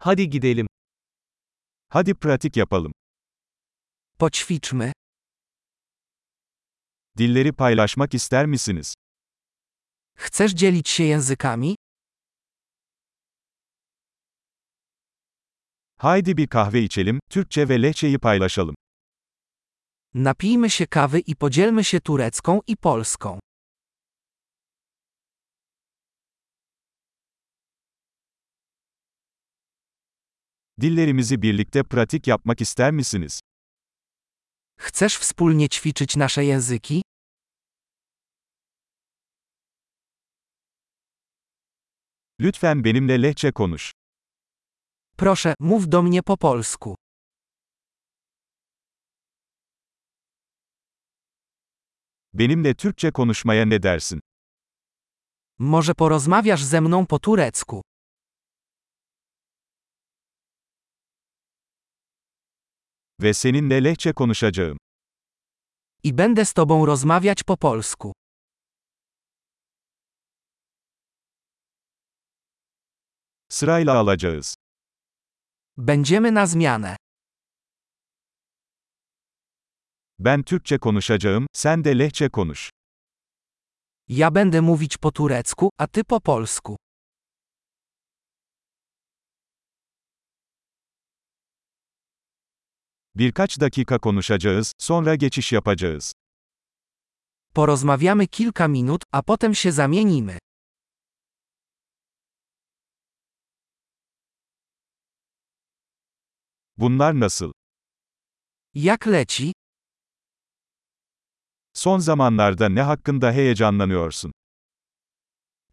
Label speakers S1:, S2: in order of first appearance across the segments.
S1: Hadi gidelim.
S2: Hadi pratik yapalım.
S3: Poćwiczmy.
S2: Dilleri paylaşmak ister misiniz?
S3: Chcesz dzielić się językami?
S2: Haydi bir kahve içelim, Türkçe ve lehçeyi paylaşalım.
S3: Napijmy się kawy i podzielmy się turecką i polską.
S2: Dillerimizi birlikte pratik yapmak ister misiniz?
S3: Chcesz wspólnie ćwiczyć nasze języki?
S2: Lütfen benimle lehçe konuş.
S3: Proszę, mów do mnie po polsku.
S2: Benimle Türkçe konuşmaya ne dersin?
S3: Może porozmawiasz ze mną po turecku?
S2: Ve seninle lehçe konuşacağım.
S3: I będę z tobą rozmawiać po polsku.
S2: Sırayla alacağız.
S3: Będziemy na zmianę.
S2: Ben Türkçe konuşacağım, sen de lehçe konuş.
S3: Ja będę mówić po turecku, a ty po polsku.
S2: Birkaç dakika konuşacağız, sonra geçiş yapacağız.
S3: Porozmawiamy kilka minut, a potem się zamienimy.
S2: Bunlar nasıl?
S3: Jak leci?
S2: Son zamanlarda ne hakkında heyecanlanıyorsun?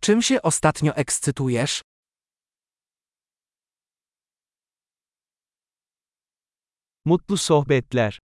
S3: Czym się ostatnio ekscytujesz?
S1: Mutlu sohbetler.